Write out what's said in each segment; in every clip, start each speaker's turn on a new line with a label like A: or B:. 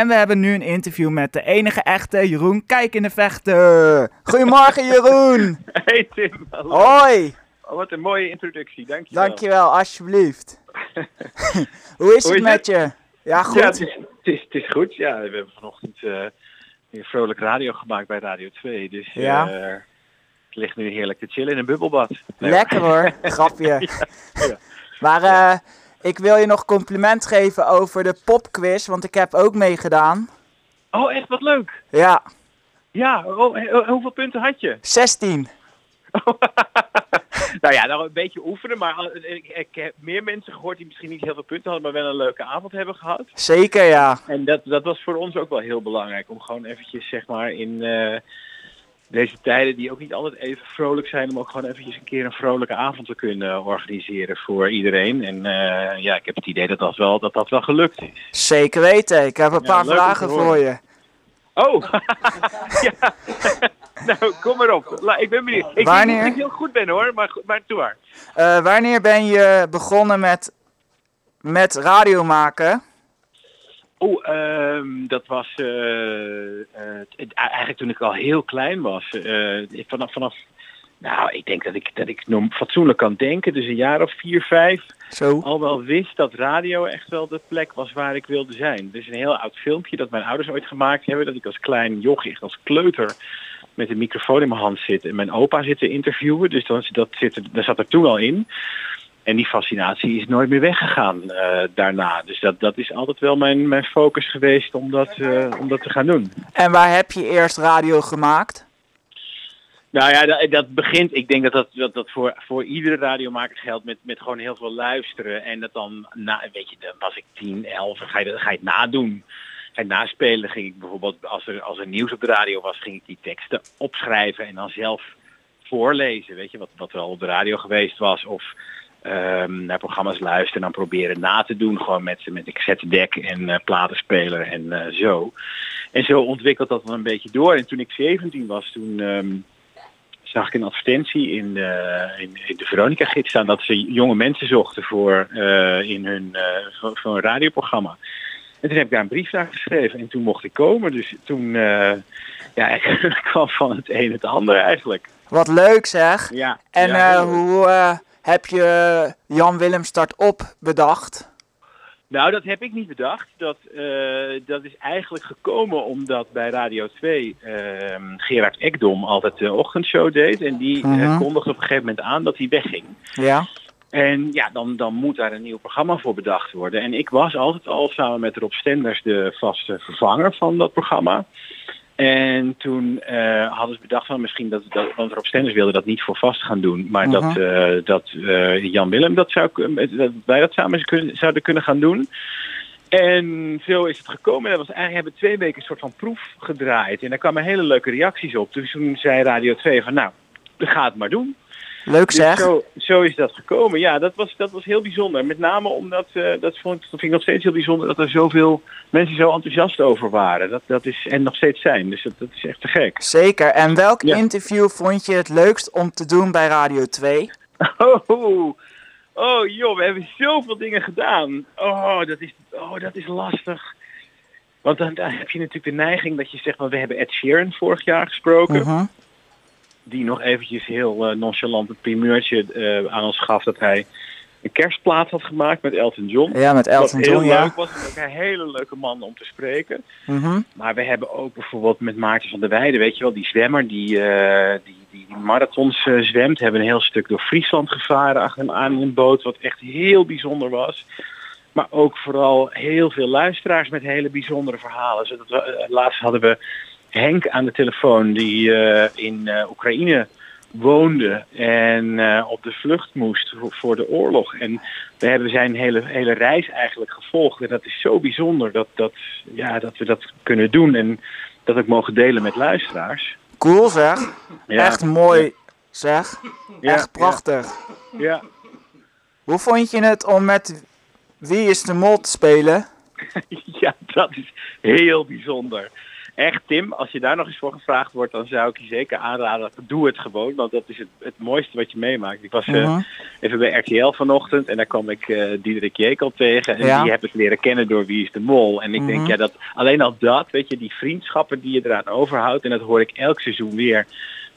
A: En we hebben nu een interview met de enige echte Jeroen Kijk in de Vechten. Goedemorgen Jeroen.
B: Hey Tim, hallo.
A: Hoi.
B: Oh, wat een mooie introductie, dankjewel.
A: Dankjewel, alsjeblieft. Hoe is
B: Hoe
A: het
B: is
A: met je? Ja,
B: Ja,
A: goed.
B: het is, het, is, het is goed. Ja, we hebben vanochtend eh, weer vrolijk radio gemaakt bij Radio 2. Dus eh,
A: Ja.
B: ik lig nu heerlijk te chillen in een bubbelbad. Nee,
A: Lekker hoor, grapje.
B: ja.
A: Maar eh, ik wil je nog compliment geven over de popquiz, want ik heb ook meegedaan.
B: Oh, echt wat leuk.
A: Ja,
B: Ja, oh, he- oh, hoeveel punten had je?
A: 16.
B: Nou ja, nou een beetje oefenen, maar al- ik, ik heb meer mensen gehoord die misschien niet heel veel punten hadden, maar wel een leuke avond hebben gehad.
A: Zeker ja.
B: En dat, dat was voor ons ook wel heel belangrijk. Om gewoon eventjes, zeg maar, in eh, deze tijden die ook niet altijd even vrolijk zijn... om ook gewoon eventjes een keer een vrolijke avond te kunnen organiseren voor iedereen. En eh, ja, ik heb het idee dat dat wel, dat dat wel gelukt is.
A: Zeker weten. Ik heb een
B: Ja,
A: paar
B: leuk om
A: vragen
B: te
A: voor
B: horen.
A: je.
B: Oh! ja. nou, kom maar op. La, ik ben benieuwd. Ik denk niet
A: Wanneer?
B: dat ik heel goed ben hoor, maar, goed- maar toe maar.
A: Eh, wanneer ben je begonnen met, met radio maken?
B: Oh, ehm, dat was eh, eh, het- eigenlijk toen ik al heel klein was. Eh, ik- vanaf, vanaf, nou, ik denk dat ik, dat ik norm- fatsoenlijk kan denken. Dus een jaar of vier, vijf
A: Zo.
B: al wel wist dat radio echt wel de plek was waar ik wilde zijn. Dus een heel oud filmpje dat mijn ouders ooit gemaakt hebben. Dat ik als klein jochie, als kleuter, met een microfoon in mijn hand zit. En mijn opa zit te interviewen. Dus dan, dat zit er, daar zat er toen al in. En die fascinatie is nooit meer weggegaan eh, daarna. Dus dat, dat is altijd wel mijn, mijn focus geweest om dat, eh, om dat te gaan doen.
A: En waar heb je eerst radio gemaakt?
B: Nou ja, dat, dat begint. Ik denk dat dat, dat, dat voor, voor iedere radiomaker geldt met, met gewoon heel veel luisteren. En dat dan, na, weet je, dan was ik 10, 11, en ga je, dat- ga je het nadoen. Ga je het naspelen, ging ik bijvoorbeeld, als er, als er nieuws op de radio was, ging ik die teksten opschrijven en dan zelf voorlezen. Weet je, wat, wat wel op de radio geweest was. Of ehm, naar programma's luisteren en dan proberen na te doen. Gewoon met, met een cassettedek en eh, platenspeler en eh, zo. En zo ontwikkelt dat dan een beetje door. En toen ik 17 was, toen... ehm, zag ik een advertentie in de, in, in de Veronica gids staan dat ze jonge mensen zochten voor, eh, in hun, eh, voor, voor een radioprogramma. En toen heb ik daar een brief naar geschreven en toen mocht ik komen. Dus toen eh, ja, ik kwam van het een het ander eigenlijk.
A: Wat leuk zeg.
B: Ja,
A: En
B: ja,
A: eh, hoe eh, heb je Jan Willem Start Op bedacht?
B: Nou, dat heb ik niet bedacht. Dat, eh, dat is eigenlijk gekomen omdat bij Radio 2 ehm, Gerard Ekdom altijd de ochtendshow deed. En die eh,
A: Mhm.
B: kondigde op een gegeven moment aan dat hij wegging.
A: Ja.
B: En ja, dan, dan moet daar een nieuw programma voor bedacht worden. En ik was altijd al samen met Rob Stenders de vaste vervanger van dat programma. En toen eh, hadden ze bedacht van misschien dat, dat want Rob Stenders wilde dat niet voor vast gaan doen, maar dat, eh, dat eh, Jan Willem dat zou kun- dat wij dat samen kunnen- zouden kunnen gaan doen. En zo is het gekomen. En Dat was eigenlijk hebben we twee weken een soort van proef gedraaid. En daar kwamen hele leuke reacties op. Dus toen zei Radio 2 van nou, ga het maar doen.
A: Leuk zeg.
B: Dus zo, zo is dat gekomen. Ja, dat was, dat was heel bijzonder. Met name omdat, eh, dat, vond, ik- dat vind ik nog steeds heel bijzonder, dat er zoveel mensen zo enthousiast over waren. Dat, dat is, en nog steeds zijn. Dus dat, dat is echt te gek.
A: Zeker. En welk
B: Ja.
A: interview vond je het leukst om te doen bij Radio 2?
B: Oh, oh joh, we hebben zoveel dingen gedaan. Oh, dat is, oh, dat is lastig. Want dan, dan heb je natuurlijk de neiging dat je zegt, van we hebben Ed Sheeran vorig jaar gesproken.
A: Mhm.
B: die nog eventjes heel eh, nonchalant het primeurtje eh, aan ons gaf dat hij een kerstplaat had gemaakt met Elton John.
A: Ja, met Elton
B: Wat heel
A: John, ja.
B: leuk was, en ook een hele leuke man om te spreken.
A: Mhm.
B: Maar we hebben ook bijvoorbeeld met Maarten van der Weijden, weet je wel, die zwemmer die, eh, die, die marathons eh, zwemt, hebben een heel stuk door Friesland gevaren achter hem aan in een boot, wat echt heel bijzonder was. Maar ook vooral heel veel luisteraars met hele bijzondere verhalen. Zodat we, eh, laatst hadden we Henk aan de telefoon die eh, in eh, Oekraïne woonde en eh, op de vlucht moest voor, voor de oorlog. En we hebben zijn hele, hele reis eigenlijk gevolgd. En dat is zo bijzonder dat, dat, ja, dat we dat kunnen doen en dat ook mogen delen met luisteraars.
A: Cool zeg.
B: Ja.
A: Echt mooi zeg.
B: Ja,
A: Echt prachtig.
B: Ja, ja.
A: Hoe vond je het om met Wie is de Mol te spelen?
B: Ja, dat is heel bijzonder. echt Tim, als je daar nog eens voor gevraagd wordt, dan zou ik je zeker aanraden, doe het gewoon. Want dat is het, het mooiste wat je meemaakt. Ik was eh,
A: Mhm.
B: even bij RTL vanochtend en daar kwam ik eh Diederik Jekel tegen. En
A: Ja.
B: die heb ik leren kennen door Wie is de Mol. En ik
A: Mhm.
B: denk, ja, dat alleen al dat, weet je, die vriendschappen die je eraan overhoudt. En dat hoor ik elk seizoen weer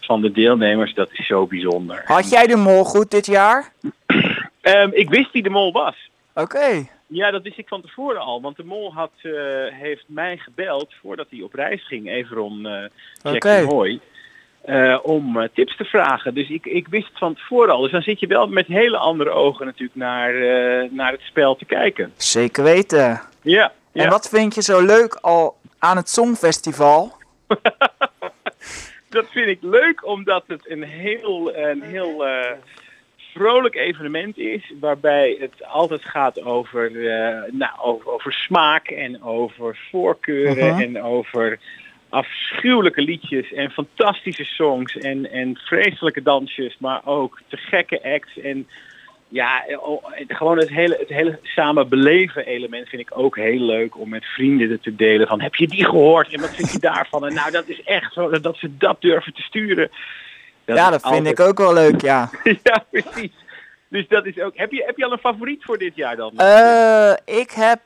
B: van de deelnemers. Dat is zo bijzonder.
A: Had jij de mol goed dit jaar?
B: Ehm, ik wist wie de Mol was.
A: Oké.
B: Ja, dat wist ik van tevoren al. Want de mol had, eh, heeft mij gebeld voordat hij op reis ging, even om eh Jackson
A: Oké.
B: Hoy, eh, om eh, tips te vragen. Dus ik, ik wist het van tevoren al. Dus dan zit je wel met hele andere ogen natuurlijk naar, eh, naar het spel te kijken.
A: Zeker weten.
B: Ja, ja.
A: En wat vind je zo leuk al aan het Songfestival?
B: dat vind ik leuk omdat het een heel, een heel eh, vrolijk evenement is. Waarbij het altijd gaat over, eh, nou, over, over smaak en over voorkeuren
A: Mhm.
B: en over afschuwelijke liedjes en fantastische songs en, en vreselijke dansjes, maar ook te gekke acts en ja, eh, oh, eh, gewoon het hele, het hele samen beleven element vind ik ook heel leuk om met vrienden het te delen. Van heb je die gehoord en wat vind je daarvan? En nou, dat is echt zo dat ze dat durven te sturen.
A: ja, dat vind ik ook wel leuk, ja.
B: ook. ja, precies. Dus dat is ook. Heb je, heb je al een favoriet voor dit jaar dan?
A: Eh, ik heb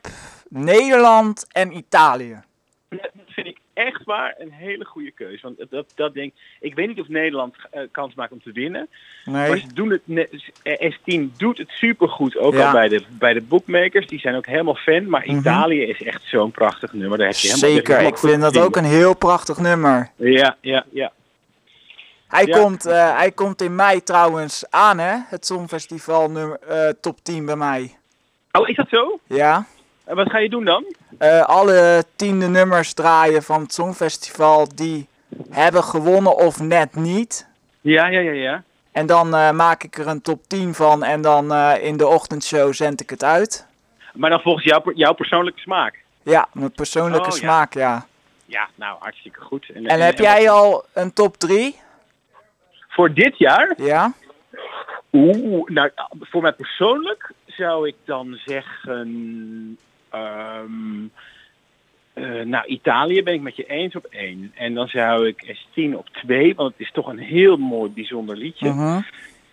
A: Nederland en Italië.
B: Dat vind ik echt waar een hele goede keus. Want dat, dat denk ik. weet niet of Nederland eh, kans maakt om te winnen. Maar
A: Nee.
B: ze doen het. ne- eh, S10 doet het supergoed. Ook
A: Ja.
B: al bij de, bij de bookmakers. Die zijn ook helemaal fan. Maar
A: Mhm.
B: Italië is echt zo'n prachtig nummer. Daar heb je helemaal
A: Zeker, ik vind dat ook een heel prachtig nummer.
B: een. Ja, ja, ja.
A: Hij,
B: Ja.
A: komt, eh, hij komt in mei trouwens aan, hè? Het Songfestival nummer, eh, top 10 bij mij.
B: Oh, is dat zo?
A: Ja.
B: En wat ga je doen dan?
A: Eh, alle tiende nummers draaien van het Songfestival die hebben gewonnen of net niet.
B: Ja, ja, ja, ja.
A: En dan eh, maak ik er een top 10 van en dan eh, in de ochtendshow zend ik het uit.
B: Maar dan volgens jouw, per- jouw persoonlijke smaak.
A: Ja, mijn persoonlijke
B: Oh, ja.
A: smaak, ja.
B: Ja, nou, hartstikke goed.
A: En, heb jij al een top 3?
B: Voor dit jaar?
A: Ja?
B: Oeh, nou, voor mij persoonlijk zou ik dan zeggen... ehm, eh, nou, Italië ben ik met je eens op één. En dan zou ik S10 op twee, want het is toch een heel mooi, bijzonder liedje.
A: Mhm.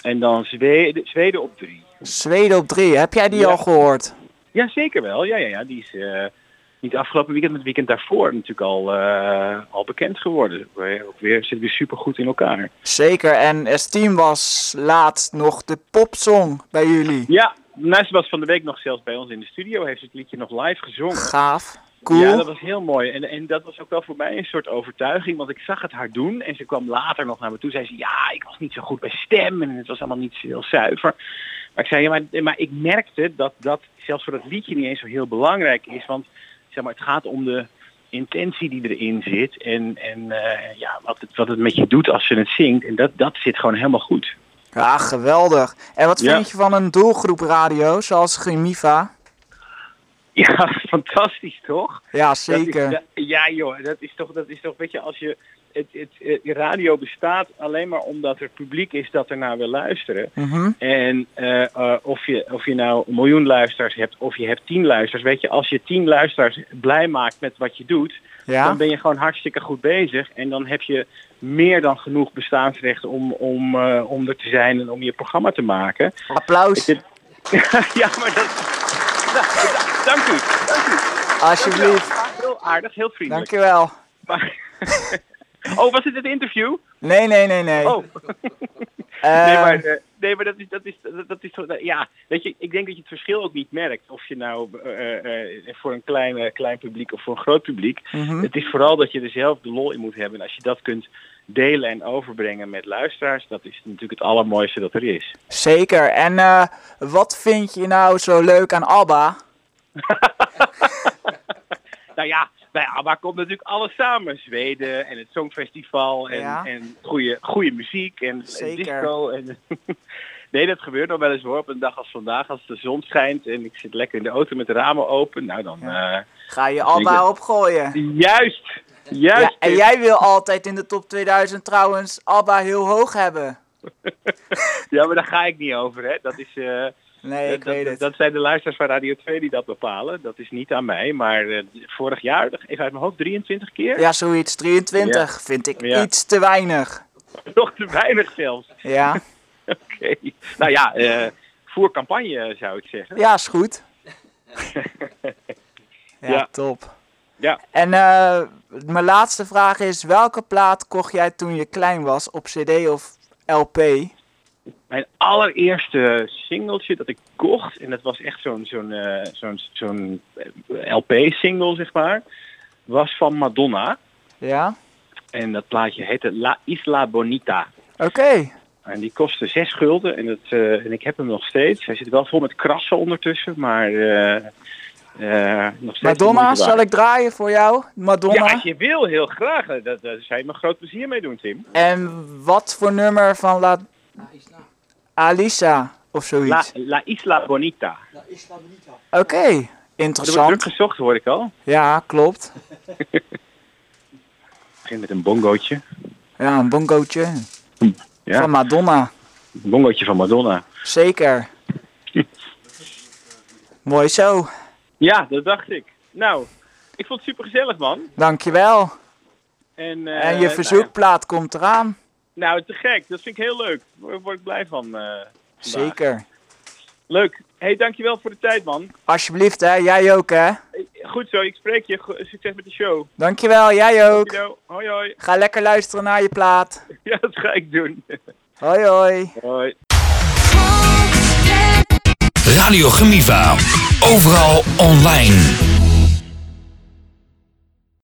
B: En dan Zweden, Zweden op drie.
A: Zweden op 3, heb jij die
B: Ja.
A: al gehoord?
B: Ja, zeker wel. Ja, ja, ja. Die is eh, niet afgelopen weekend, maar het weekend daarvoor natuurlijk al, eh, al bekend geworden. We- Ook weer zit weer super goed in elkaar.
A: Zeker, en S10 was laatst nog de popsong bij jullie.
B: Ja, nou, ze was van de week nog zelfs bij ons in de studio. Heeft ze het liedje nog live gezongen.
A: Gaaf, cool.
B: Ja, dat was heel mooi. En, en dat was ook wel voor mij een soort overtuiging. Want ik zag het haar doen. En ze kwam later nog naar me toe. Zei ze, ja, ik was niet zo goed bij stem. En het was allemaal niet zo heel zuiver. Maar ik zei, ja, maar, maar ik merkte dat dat zelfs voor dat liedje niet eens zo heel belangrijk is. Want zeg maar, het gaat om de intentie die erin zit. En, en eh, ja, wat, het, wat het met je doet als ze het zingt. En dat, dat zit gewoon helemaal goed.
A: Ja, geweldig. En wat
B: Ja.
A: vind je van een doelgroep radio zoals Gemiva?
B: Ja, fantastisch toch?
A: Ja,
B: Dat is-
A: zeker.
B: dat- ja joh, dat is toch, dat is toch, weet je, als je het, het, eh, radio bestaat alleen maar omdat er publiek is dat er naar wil luisteren.
A: Mhm.
B: En eh, eh, of, je, of je nou een miljoen luisteraars hebt of je hebt tien luisteraars, weet je, als je tien luisteraars blij maakt met wat je doet,
A: Ja,
B: dan ben je gewoon hartstikke goed bezig. En dan heb je meer dan genoeg bestaansrecht om, om, eh, om er te zijn en om je programma te maken.
A: applaus,
B: Dit- ja, maar dat... Nou, d- dank u. Dank u.
A: alsjeblieft.
B: Heel aardig, heel vriendelijk.
A: Dankjewel.
B: Maar... oh, was het het interview?
A: Nee, nee, nee, nee.
B: Oh,
A: Eh,
B: nee, maar, eh, nee, maar dat is, dat is, dat, dat is toch, dat- ja, weet je, ik denk dat je het verschil ook niet merkt of je nou eh, eh, voor een klein, eh, klein publiek of voor een groot publiek.
A: mhm.
B: Het is vooral dat je er zelf de lol in moet hebben. En als je dat kunt delen en overbrengen met luisteraars, dat is natuurlijk het allermooiste dat er is.
A: Zeker. En eh, wat vind je nou zo leuk aan ABBA?
B: Nou ja, bij ABBA komt natuurlijk alles samen. Zweden en het Songfestival en,
A: Ja.
B: en goede, goede muziek en, en
A: Zeker.
B: disco. En nee, dat gebeurt nog wel eens hoor. Op een dag als vandaag, als de zon schijnt en ik zit lekker in de auto met de ramen open. Nou dan, eh,
A: Ga je ABBA
B: Zeker.
A: opgooien?
B: juist,
A: Ja,
B: juist.
A: en
B: Tim.
A: jij wil altijd in de top 2000 trouwens ABBA heel hoog hebben.
B: Ja, maar daar ga ik niet over. Hè. Dat is, eh,
A: Nee, ik
B: dat,
A: weet het.
B: dat zijn de luisteraars van Radio 2 die dat bepalen. Dat is niet aan mij. Maar eh, vorig jaar, even uit mijn hoofd, 23 keer.
A: Ja, zoiets. 23 vind ik
B: Ja.
A: iets te weinig.
B: Nog te weinig zelfs.
A: Ja,
B: Oké. Nou ja, eh, voer campagne zou ik zeggen.
A: ja is goed. ja,
B: Ja.
A: top.
B: Ja.
A: En eh, mijn laatste vraag is, welke plaat kocht jij toen je klein was op cd of LP?
B: Mijn allereerste singeltje dat ik kocht, en dat was echt zo'n zo'n eh, zo'n zo'n LP-single, zeg maar, was van Madonna.
A: Ja,
B: En dat plaatje heette La Isla Bonita.
A: oké.
B: En die kostte zes gulden en, dat, eh, en ik heb hem nog steeds. Hij zit wel vol met krassen ondertussen, maar eh, eh, nog steeds de moeite
A: Madonna,
B: waard.
A: zal ik draaien voor jou? Madonna.
B: Ja, als je wil, heel graag. Eh, dat- Daar zou je me groot plezier mee doen, Tim.
A: En wat voor nummer van La... Alisa of
B: La,
A: zoiets.
B: La Isla Bonita.
A: Oké,
B: Er wordt druk
A: interessant.
B: gezocht, hoor ik al.
A: Ja, klopt.
B: Ik begin met een bongootje.
A: Ja, een bongootje
B: Ja,
A: van Madonna.
B: een bongootje van Madonna.
A: Zeker. Mooi zo.
B: Ja, dat dacht ik. Nou, ik vond het super gezellig, man.
A: Dankjewel.
B: En, eh,
A: En je verzoekplaat komt eraan.
B: Nou, nou, te gek. Dat vind ik heel leuk. Daar word ik blij van. eh, vandaag.
A: Zeker.
B: Leuk. hey, dankjewel voor de tijd, man. Eh,
A: Alsjeblieft hè, jij ook hè.
B: Goed zo, ik spreek je. Go- Succes met de show.
A: Dankjewel, jij ook.
B: Dankjewel. Hoi, hoi.
A: Ga lekker luisteren naar je plaat.
B: Ja, dat ga ik doen.
A: Hoi hoi.
B: Hoi.
C: Radio Gemiva. Overal online.